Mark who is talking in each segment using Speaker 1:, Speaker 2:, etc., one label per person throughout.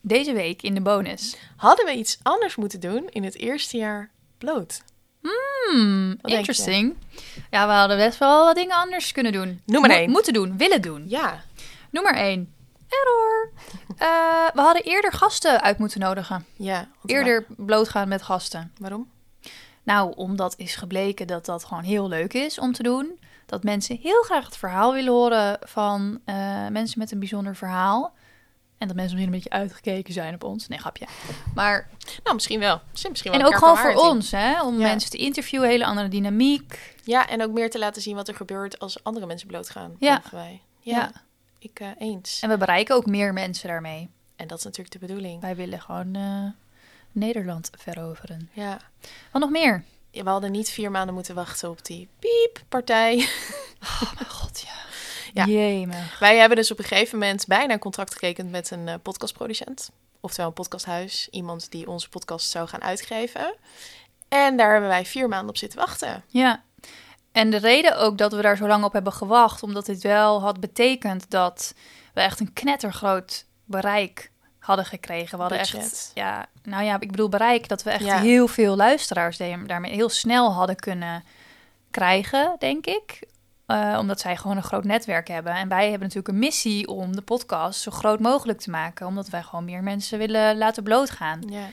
Speaker 1: Deze week in de bonus.
Speaker 2: Hadden we iets anders moeten doen in het eerste jaar bloot?
Speaker 1: Hmm,
Speaker 2: denk je?
Speaker 1: interesting. Ja, we hadden best wel wat dingen anders kunnen doen.
Speaker 2: Noem maar
Speaker 1: Mo-
Speaker 2: één.
Speaker 1: Moeten doen, willen doen.
Speaker 2: Ja.
Speaker 1: Nummer 1. Error. Eh, we hadden eerder gasten uit moeten nodigen.
Speaker 2: Ja. want
Speaker 1: Eerder blootgaan met gasten.
Speaker 2: wa- Waarom?
Speaker 1: Nou, omdat is gebleken dat dat gewoon heel leuk is om te doen. Dat mensen heel graag het verhaal willen horen van eh, mensen met een bijzonder verhaal. En dat mensen misschien een beetje uitgekeken zijn op ons. Nee, grapje. Maar,
Speaker 2: Nou, misschien wel. Zit misschien wel
Speaker 1: en
Speaker 2: een
Speaker 1: ook gewoon voor
Speaker 2: kernwaarheid
Speaker 1: ons, hè. Om
Speaker 2: Ja.
Speaker 1: mensen te interviewen, hele andere dynamiek.
Speaker 2: in. Ja, en ook meer te laten zien wat er gebeurt als andere mensen blootgaan.
Speaker 1: Ja.
Speaker 2: denken wij. Ja.
Speaker 1: Ja.
Speaker 2: Ik eh, eens.
Speaker 1: En we bereiken ook meer mensen daarmee.
Speaker 2: En dat is natuurlijk de bedoeling.
Speaker 1: Wij willen gewoon eh, Nederland veroveren.
Speaker 2: Ja.
Speaker 1: Wat nog meer?
Speaker 2: Ja, We hadden niet vier maanden moeten wachten op die pieppartij.
Speaker 1: Oh mijn god, ja.
Speaker 2: Ja.
Speaker 1: Jemig.
Speaker 2: Wij hebben dus op een gegeven moment bijna een contract getekend met een eh, podcastproducent. Oftewel een podcasthuis. Iemand die onze podcast zou gaan uitgeven. En daar hebben wij vier maanden op zitten wachten.
Speaker 1: Ja. En de reden ook dat we daar zo lang op hebben gewacht, omdat dit wel had betekend dat we echt een knettergroot bereik hadden gekregen. We hadden
Speaker 2: Budget.
Speaker 1: echt, ja, nou ja, ik bedoel bereik dat we echt
Speaker 2: Ja.
Speaker 1: heel veel luisteraars de- daarmee heel snel hadden kunnen krijgen, denk ik. Eh, omdat zij gewoon een groot netwerk hebben. En wij hebben natuurlijk een missie om de podcast zo groot mogelijk te maken. Omdat wij gewoon meer mensen willen laten blootgaan.
Speaker 2: Ja.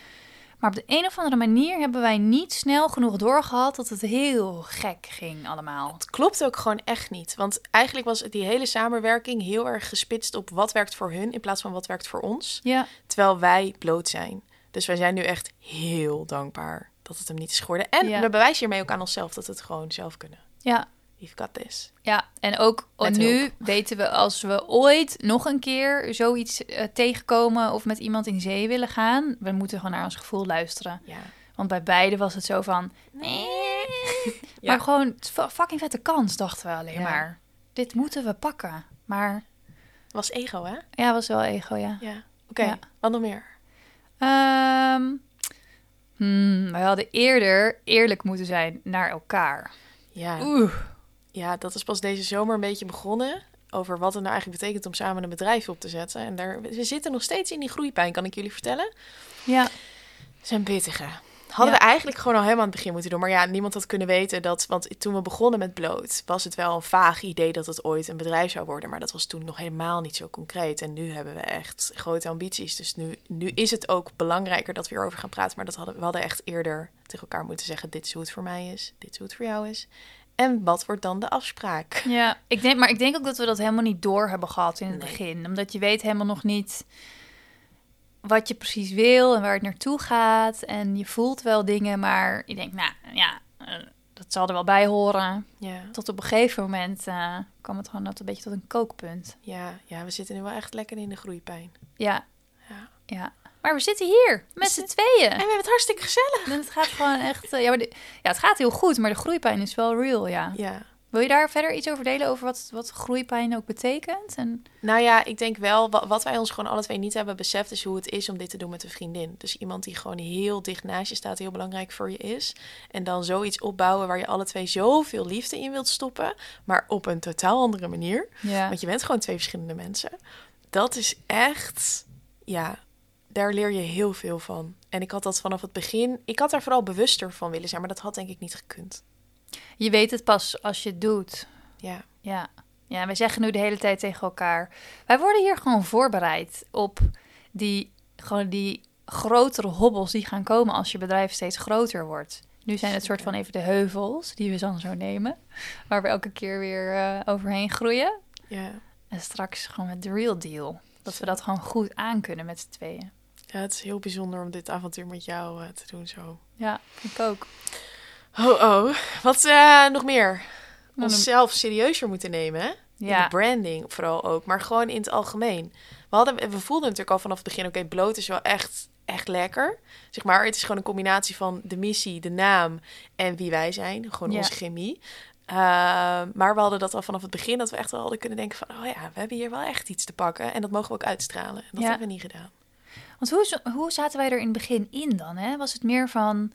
Speaker 1: Maar op de een of andere manier hebben wij niet snel genoeg doorgehad dat het heel gek ging allemaal.
Speaker 2: Het klopt ook gewoon echt niet. Want eigenlijk was die hele samenwerking heel erg gespitst op wat werkt voor hun in plaats van wat werkt voor ons.
Speaker 1: Ja,
Speaker 2: Terwijl wij bloot zijn. Dus wij zijn nu echt heel dankbaar dat het hem niet is geworden. En
Speaker 1: Ja.
Speaker 2: we bewijzen hiermee ook aan onszelf dat we het gewoon zelf kunnen.
Speaker 1: ja,
Speaker 2: You've got this.
Speaker 1: ja. En ook
Speaker 2: Met
Speaker 1: nu weten we als we ooit nog een keer zoiets eh, tegenkomen of met iemand in zee willen gaan, we moeten gewoon naar ons gevoel luisteren.
Speaker 2: Ja.
Speaker 1: Want bij beide was het zo van, nee.
Speaker 2: Ja.
Speaker 1: Maar gewoon het is fu- fucking vette kans, dachten we alleen
Speaker 2: Ja.
Speaker 1: maar. Dit moeten we pakken. Maar
Speaker 2: Was ego, hè?
Speaker 1: ja, was wel ego, ja.
Speaker 2: Ja. Oké,
Speaker 1: Ja.
Speaker 2: wat nog meer?
Speaker 1: Ehm hmm, we hadden eerder eerlijk moeten zijn naar elkaar.
Speaker 2: Ja.
Speaker 1: Oeh.
Speaker 2: ja, dat is pas deze zomer een beetje begonnen. Over wat het nou eigenlijk betekent om samen een bedrijf op te zetten. En daar, we zitten nog steeds in die groeipijn, kan ik jullie vertellen.
Speaker 1: Ja.
Speaker 2: zijn pittige. Hadden
Speaker 1: Ja.
Speaker 2: we eigenlijk gewoon al helemaal aan het begin moeten doen. Maar ja, niemand had kunnen weten dat. Want toen we begonnen met bloot, was het wel een vaag idee dat het ooit een bedrijf zou worden. Maar dat was toen nog helemaal niet zo concreet. En nu hebben we echt grote ambities. Dus nu, nu is het ook belangrijker dat we erover gaan praten. Maar dat hadden, we hadden echt eerder tegen elkaar moeten zeggen: dit is hoe het voor mij is, dit is hoe het voor jou is. En wat wordt dan de afspraak?
Speaker 1: ja. Ik denk, maar ik denk ook dat we dat helemaal niet door hebben gehad in het
Speaker 2: Nee.
Speaker 1: begin. Omdat je weet helemaal nog niet wat je precies wil en waar het naartoe gaat. En je voelt wel dingen, maar je denkt, nou ja, eh, dat zal er wel bij horen.
Speaker 2: Ja,
Speaker 1: Tot op een gegeven moment eh, kwam het gewoon tot een beetje tot een kookpunt.
Speaker 2: ja, ja, we zitten nu wel echt lekker in de groeipijn.
Speaker 1: Ja.
Speaker 2: Ja.
Speaker 1: ja. Maar we zitten hier met z'n tweeën.
Speaker 2: En we hebben het hartstikke gezellig.
Speaker 1: En het gaat gewoon echt. eh, ja, maar de- ja, het gaat heel goed, maar de groeipijn is wel real, ja.
Speaker 2: Ja.
Speaker 1: Wil je daar verder iets over delen over wat, wat groeipijn ook betekent? En,
Speaker 2: Nou ja, ik denk wel, wa- wat wij ons gewoon alle twee niet hebben beseft, is hoe het is om dit te doen met een vriendin. Dus iemand die gewoon heel dicht naast je staat, heel belangrijk voor je is. En dan zoiets opbouwen waar je alle twee zoveel liefde in wilt stoppen, maar op een totaal andere manier.
Speaker 1: ja.
Speaker 2: Want je bent gewoon twee verschillende mensen. Dat is echt, ja, daar leer je heel veel van. En ik had dat vanaf het begin, ik had daar vooral bewuster van willen zijn, maar dat had denk ik niet gekund.
Speaker 1: Je weet het pas als je het doet.
Speaker 2: Ja,
Speaker 1: Ja. ja, wij zeggen nu de hele tijd tegen elkaar. Wij worden hier gewoon voorbereid op die, gewoon die grotere hobbels die gaan komen als je bedrijf steeds groter wordt. Nu zijn het soort van even de heuvels die we dan zo nemen, waar we elke keer weer eh, overheen groeien.
Speaker 2: ja.
Speaker 1: En straks gewoon met de real deal. Dat we dat gewoon goed aan kunnen met z'n tweeën.
Speaker 2: ja het is heel bijzonder om dit avontuur met jou eh, te doen zo.
Speaker 1: Ja, ik ook.
Speaker 2: Oh, oh. Wat eh, nog meer?
Speaker 1: Dan
Speaker 2: Onszelf serieuzer moeten nemen, hè?
Speaker 1: een-
Speaker 2: In de
Speaker 1: Ja,
Speaker 2: branding vooral ook, maar gewoon in het algemeen. We, hadden, we voelden natuurlijk al vanaf het begin, oké, bloot is wel echt, echt lekker. Zeg maar, het is gewoon een combinatie van de missie, de naam en wie wij zijn. Gewoon
Speaker 1: Ja.
Speaker 2: onze chemie. Ehm, maar we hadden dat al vanaf het begin, dat we echt wel hadden kunnen denken van... oh ja, we hebben hier wel echt iets te pakken en dat mogen we ook uitstralen. En dat
Speaker 1: Ja.
Speaker 2: hebben we niet gedaan.
Speaker 1: want hoe, zo- hoe zaten wij er in het begin in dan? Hè? Was het meer van,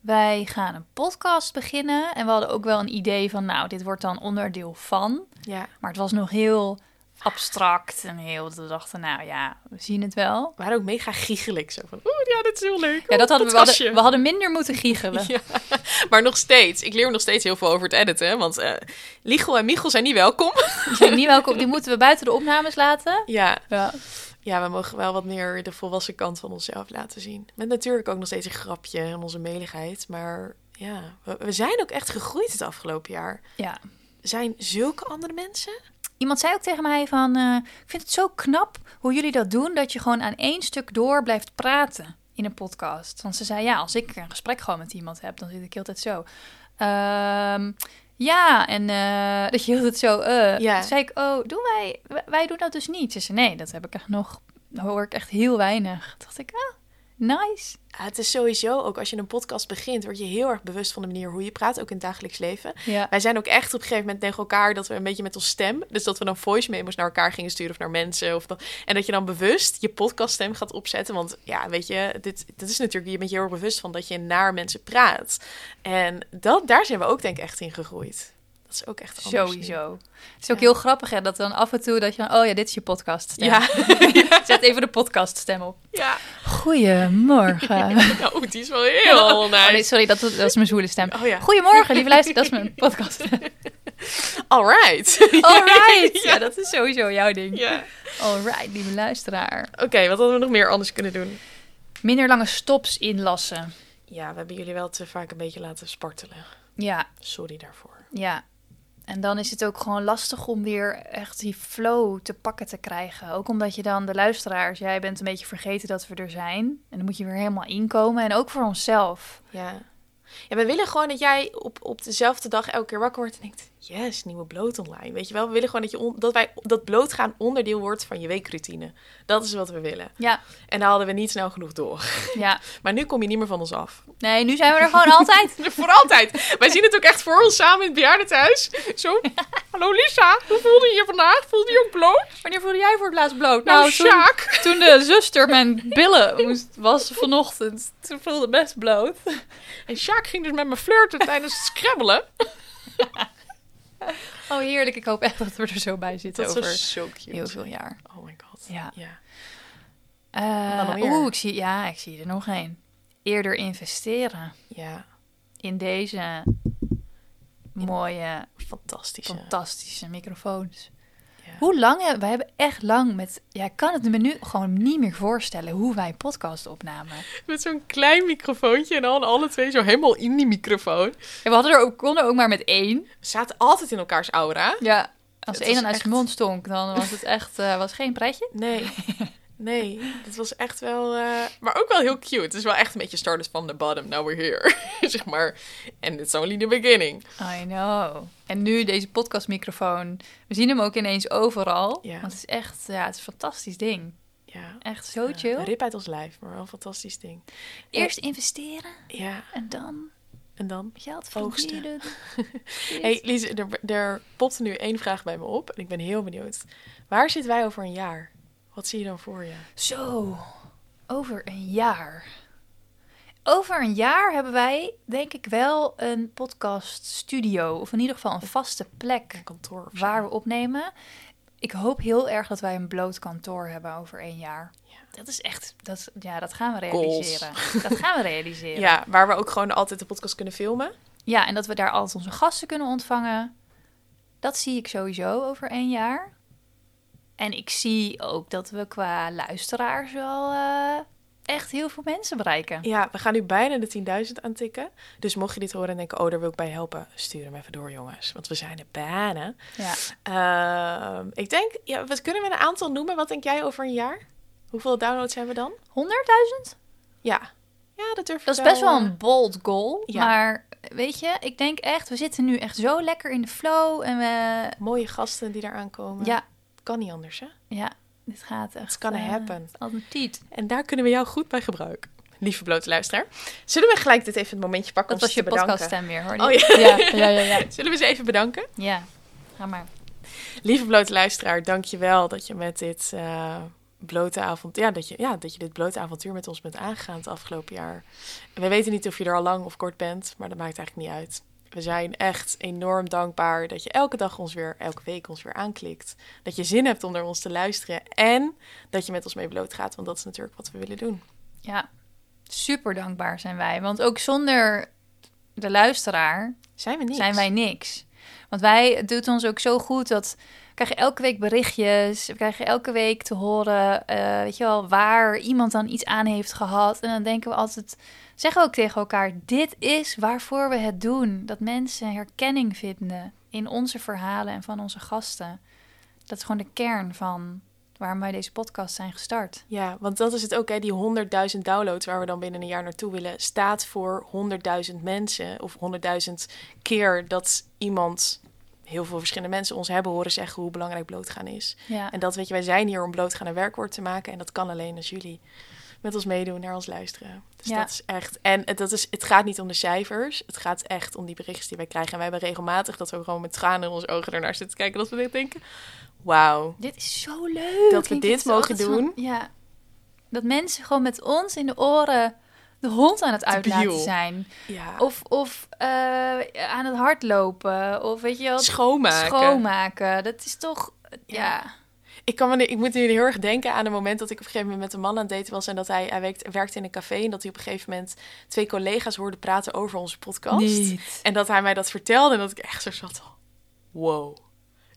Speaker 1: wij gaan een podcast beginnen. En we hadden ook wel een idee van, nou, dit wordt dan onderdeel van.
Speaker 2: Ja,
Speaker 1: Maar het was nog heel abstract en heel. We dachten, nou ja, we zien het wel.
Speaker 2: We waren ook mega giegelijk. Zo van, oeh, ja, dit is heel leuk.
Speaker 1: Ja, dat hadden we, we, hadden,
Speaker 2: kastje.
Speaker 1: we hadden minder moeten giechelen.
Speaker 2: Ja. Maar nog steeds, ik leer nog steeds heel veel over het editen. hè, Want eh Liegel en Michel zijn niet welkom.
Speaker 1: Die zijn niet welkom, die moeten we buiten de opnames laten.
Speaker 2: Ja.
Speaker 1: Ja,
Speaker 2: ja, we mogen wel wat meer de volwassen kant van onszelf laten zien. Met natuurlijk ook nog steeds een grapje en onze meligheid. Maar ja, we, we zijn ook echt gegroeid het afgelopen jaar.
Speaker 1: ja.
Speaker 2: Zijn zulke andere mensen?
Speaker 1: Iemand zei ook tegen mij van, eh, ik vind het zo knap hoe jullie dat doen, dat je gewoon aan één stuk door blijft praten in een podcast. Want ze zei, ja, als ik een gesprek gewoon met iemand heb, dan zit ik heel de tijd zo. Ehm, ja, en eh, dat je heel de tijd zo, eh.
Speaker 2: Ja.
Speaker 1: Toen zei ik, oh, doen wij, wij- wij doen dat dus niet. Ze zei, nee, dat heb ik echt nog, hoor ik echt heel weinig. Toen dacht ik, ah, nice.
Speaker 2: Ja, het is sowieso ook als je een podcast begint, word je heel erg bewust van de manier hoe je praat, ook in het dagelijks leven.
Speaker 1: Ja.
Speaker 2: Wij zijn ook echt op een gegeven moment tegen elkaar dat we een beetje met ons stem, dus dat we dan voice memos naar elkaar gingen sturen of naar mensen. Of dan, en dat je dan bewust je podcaststem gaat opzetten. Want ja, weet je, dit, dit is natuurlijk, je bent je heel erg bewust van dat je naar mensen praat. En dat, daar zijn we ook denk ik echt in gegroeid. Dat is ook echt anders nu.
Speaker 1: Sowieso. Het is ook
Speaker 2: Ja.
Speaker 1: heel grappig hè, dat dan af en toe dat je dan, oh ja, dit is je podcast stem.
Speaker 2: Ja.
Speaker 1: Zet even de podcast stem op.
Speaker 2: ja.
Speaker 1: Goedemorgen.
Speaker 2: Nou, die is wel heel nice.
Speaker 1: Oh, nee, sorry, dat, dat is mijn zwoele stem.
Speaker 2: Oh ja.
Speaker 1: Goedemorgen, lieve luister, dat is mijn podcast.
Speaker 2: All right.
Speaker 1: Alright. Ja, dat is sowieso jouw ding.
Speaker 2: Ja.
Speaker 1: Alright, lieve luisteraar.
Speaker 2: Oké, wat hadden we nog meer anders kunnen doen?
Speaker 1: Minder lange stops inlassen.
Speaker 2: Ja, we hebben jullie wel te vaak een beetje laten spartelen.
Speaker 1: Ja,
Speaker 2: Sorry daarvoor.
Speaker 1: ja. En dan is het ook gewoon lastig om weer echt die flow te pakken te krijgen. Ook omdat je dan de luisteraars, jij bent een beetje vergeten dat we er zijn. En dan moet je weer helemaal inkomen. En ook voor onszelf.
Speaker 2: Ja. Ja, we willen gewoon dat jij op, op dezelfde dag elke keer wakker wordt en denkt... Yes, nieuwe bloot online. Weet je wel, we willen gewoon dat, je on- dat, wij, dat blootgaan onderdeel wordt van je weekroutine. Dat is wat we willen.
Speaker 1: Ja,
Speaker 2: En daar hadden we niet snel genoeg door.
Speaker 1: ja.
Speaker 2: Maar nu kom je niet meer van ons af.
Speaker 1: Nee, nu zijn we er gewoon altijd.
Speaker 2: Voor altijd. Wij zien het ook echt voor ons samen in het bejaardentehuis. Zo, hallo Lisa, hoe voelde je je vandaag? Voelde je ook bloot?
Speaker 1: Wanneer voelde jij voor het laatst bloot?
Speaker 2: Nou,
Speaker 1: toen-
Speaker 2: Sjaak.
Speaker 1: Toen de zuster mijn billen moest wassen vanochtend, toen voelde het best bloot.
Speaker 2: En Sjaak ging dus met me flirten tijdens het scrabbelen.
Speaker 1: Oh, heerlijk. Ik hoop echt dat we er zo bij zitten
Speaker 2: Dat
Speaker 1: over
Speaker 2: was zo cute.
Speaker 1: heel veel jaar.
Speaker 2: Oh my god.
Speaker 1: Ja.
Speaker 2: Ja.
Speaker 1: Eh,
Speaker 2: Dan alweer.
Speaker 1: Oeh, ik zie, ja, ik zie er nog één. Eerder investeren
Speaker 2: Ja.
Speaker 1: in deze mooie,
Speaker 2: Fantastische.
Speaker 1: fantastische microfoons.
Speaker 2: Ja.
Speaker 1: Hoe lang, hebben- wij hebben echt lang met, ja, ik kan het me nu gewoon niet meer voorstellen hoe wij podcast opnamen.
Speaker 2: Met zo'n klein microfoontje en dan alle twee zo helemaal in die microfoon.
Speaker 1: En we hadden er ook, konden ook maar met één.
Speaker 2: Zaten altijd in elkaars aura.
Speaker 1: Ja, als de
Speaker 2: Het
Speaker 1: een dan
Speaker 2: was
Speaker 1: uit zijn
Speaker 2: echt-
Speaker 1: mond stonk, dan was het echt, eh, was geen pretje.
Speaker 2: Nee. Nee, dat was echt wel... eh, Maar ook wel heel cute. Het is wel echt een beetje starters from the bottom, now we're here. zeg maar. And it's only the beginning.
Speaker 1: I know. En nu deze podcastmicrofoon. We zien hem ook ineens overal.
Speaker 2: Ja.
Speaker 1: Want het is echt ja, het is een fantastisch ding.
Speaker 2: Ja.
Speaker 1: Echt zo chill.
Speaker 2: Een rip uit ons lijf, maar wel een fantastisch ding.
Speaker 1: Eerst investeren
Speaker 2: Ja,
Speaker 1: en dan
Speaker 2: en dan?
Speaker 1: geld
Speaker 2: Oogsten.
Speaker 1: verdienen.
Speaker 2: hey, Lies, er, er popte nu één vraag bij me op. En ik ben heel benieuwd. Waar zitten wij over een jaar? Wat zie je dan voor je?
Speaker 1: Zo, over een jaar. Over een jaar hebben wij denk ik wel een podcaststudio. Of in ieder geval een vaste plek
Speaker 2: Een kantoor of zo?
Speaker 1: waar we opnemen. Ik hoop heel erg dat wij een bloot kantoor hebben over één jaar. Dat is echt, dat, is- ja, dat gaan we
Speaker 2: Goals.
Speaker 1: realiseren. Dat gaan we realiseren. Ja.
Speaker 2: Ja, waar we ook gewoon altijd de podcast kunnen filmen.
Speaker 1: en dat we daar altijd onze gasten kunnen ontvangen. Dat zie ik sowieso over één jaar. En ik zie ook dat we qua luisteraars wel eh, echt heel veel mensen bereiken.
Speaker 2: Ja, we gaan nu bijna de 10.000 aantikken. Dus mocht je dit horen en denken, oh, daar wil ik bij helpen, stuur hem even door, jongens. Want we zijn er bijna.
Speaker 1: Ja.
Speaker 2: Ehm, ik denk, ja, wat kunnen we een aantal noemen? Wat denk jij over een jaar? Hoeveel downloads hebben we dan?
Speaker 1: 100.000?
Speaker 2: Ja, ja dat durf ik
Speaker 1: Dat is best wel
Speaker 2: eh,
Speaker 1: een bold goal.
Speaker 2: Ja.
Speaker 1: Maar weet je, ik denk echt, we zitten nu echt zo lekker in de flow. En we,
Speaker 2: Mooie gasten die daar aankomen.
Speaker 1: ja,
Speaker 2: Kan niet anders, hè?
Speaker 1: Ja, dit gaat echt.
Speaker 2: It's gonna
Speaker 1: eh,
Speaker 2: happen.
Speaker 1: Als een tiet.
Speaker 2: En daar kunnen we jou goed bij gebruiken. Lieve blote luisteraar. Zullen we gelijk dit even het momentje pakken
Speaker 1: Dat
Speaker 2: om
Speaker 1: was
Speaker 2: ze
Speaker 1: je
Speaker 2: te bedanken?
Speaker 1: podcaststem weer, hoor.
Speaker 2: Oh,
Speaker 1: ja. Ja, ja, ja, ja.
Speaker 2: Zullen we ze even bedanken?
Speaker 1: Ja, ga maar.
Speaker 2: Lieve blote luisteraar, dankjewel dat je met dit eh, blote avontuur, ja, dat je, ja, dat je dit blote avontuur met ons bent aangegaan het afgelopen jaar. En we weten niet of je er al lang of kort bent, maar dat maakt eigenlijk niet uit. We zijn echt enorm dankbaar dat je elke dag ons weer, elke week ons weer aanklikt. Dat je zin hebt om naar ons te luisteren en dat je met ons mee blootgaat, want dat is natuurlijk wat we willen doen.
Speaker 1: Ja, super dankbaar zijn wij. Want ook zonder de luisteraar
Speaker 2: Zijn we niet?
Speaker 1: zijn wij niks. Want wij, het doet ons ook zo goed dat we krijgen elke week berichtjes. We krijgen elke week te horen, eh, weet je wel, waar iemand dan iets aan heeft gehad. En dan denken we altijd, zeggen we ook tegen elkaar, dit is waarvoor we het doen. Dat mensen herkenning vinden in onze verhalen en van onze gasten. Dat is gewoon de kern van waarom wij deze podcast zijn gestart.
Speaker 2: Ja, want dat is het ook, hè? die 100.000 downloads waar we dan binnen een jaar naartoe willen, staat voor 100.000 mensen of 100.000 keer dat iemand, heel veel verschillende mensen ons hebben horen zeggen hoe belangrijk blootgaan is.
Speaker 1: Ja,
Speaker 2: En dat weet je, wij zijn hier om blootgaan een werkwoord te maken en dat kan alleen als jullie met ons meedoen, naar ons luisteren. Dus
Speaker 1: Ja.
Speaker 2: dat is echt, en het, dat is, het gaat niet om de cijfers, het gaat echt om die berichtjes die wij krijgen. En wij hebben regelmatig dat we gewoon met tranen in onze ogen ernaar zitten kijken, dat we echt denken, wauw.
Speaker 1: Dit is zo leuk.
Speaker 2: Dat we
Speaker 1: Ik
Speaker 2: dit
Speaker 1: vind het
Speaker 2: mogen
Speaker 1: altijd van- ja. Dat mensen gewoon met ons in de oren de hond aan het uitlaten
Speaker 2: Debiel.
Speaker 1: zijn.
Speaker 2: Ja.
Speaker 1: Of, of eh, aan het hardlopen. Of weet je wel,
Speaker 2: schoonmaken.
Speaker 1: schoonmaken. Dat is toch, ja.
Speaker 2: Ik, kan me, nu- ik moet nu heel erg denken aan het moment dat ik op een gegeven moment met een man aan het daten was. En dat hij, hij werkte, werkte in een café. En dat hij op een gegeven moment twee collega's hoorde praten over onze podcast. En dat hij mij dat vertelde. En dat ik echt zo zat. Wow.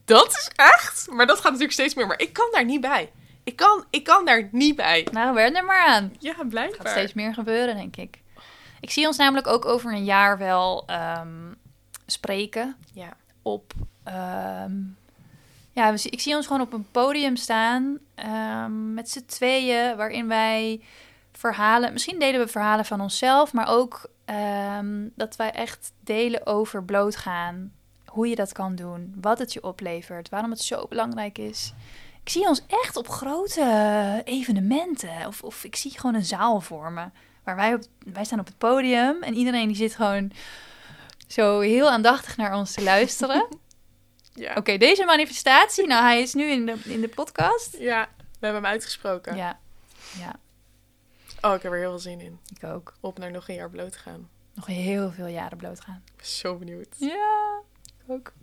Speaker 2: Dat is echt. Maar dat gaat natuurlijk steeds meer. Maar ik kan daar niet bij. Ik kan, ik kan daar niet bij.
Speaker 1: Nou, wer er maar aan.
Speaker 2: Ja,
Speaker 1: gaat
Speaker 2: blijkbaar.
Speaker 1: steeds meer gebeuren, denk ik. Ik zie ons namelijk ook over een jaar wel ehm, spreken.
Speaker 2: Ja.
Speaker 1: op. ehm, ja, we zi- ik zie ons gewoon op een podium staan ehm, met z'n tweeën, waarin wij verhalen. Misschien delen we verhalen van onszelf, maar ook ehm, dat wij echt delen over blootgaan. Hoe je dat kan doen, wat het je oplevert, waarom het zo belangrijk is. Ik zie ons echt op grote evenementen. Of, of ik zie gewoon een zaal vormen. Waar wij, op, wij staan op het podium en iedereen die zit gewoon zo heel aandachtig naar ons te luisteren.
Speaker 2: Ja.
Speaker 1: Oké, deze manifestatie, nou hij is nu in de, in de podcast.
Speaker 2: ja. We hebben hem uitgesproken.
Speaker 1: Ja,
Speaker 2: Oh, ik heb er heel veel zin in.
Speaker 1: ik ook.
Speaker 2: Op naar nog een jaar bloot gaan.
Speaker 1: Nog heel veel jaren bloot gaan.
Speaker 2: Ik ben zo benieuwd.
Speaker 1: Ja, ik ook.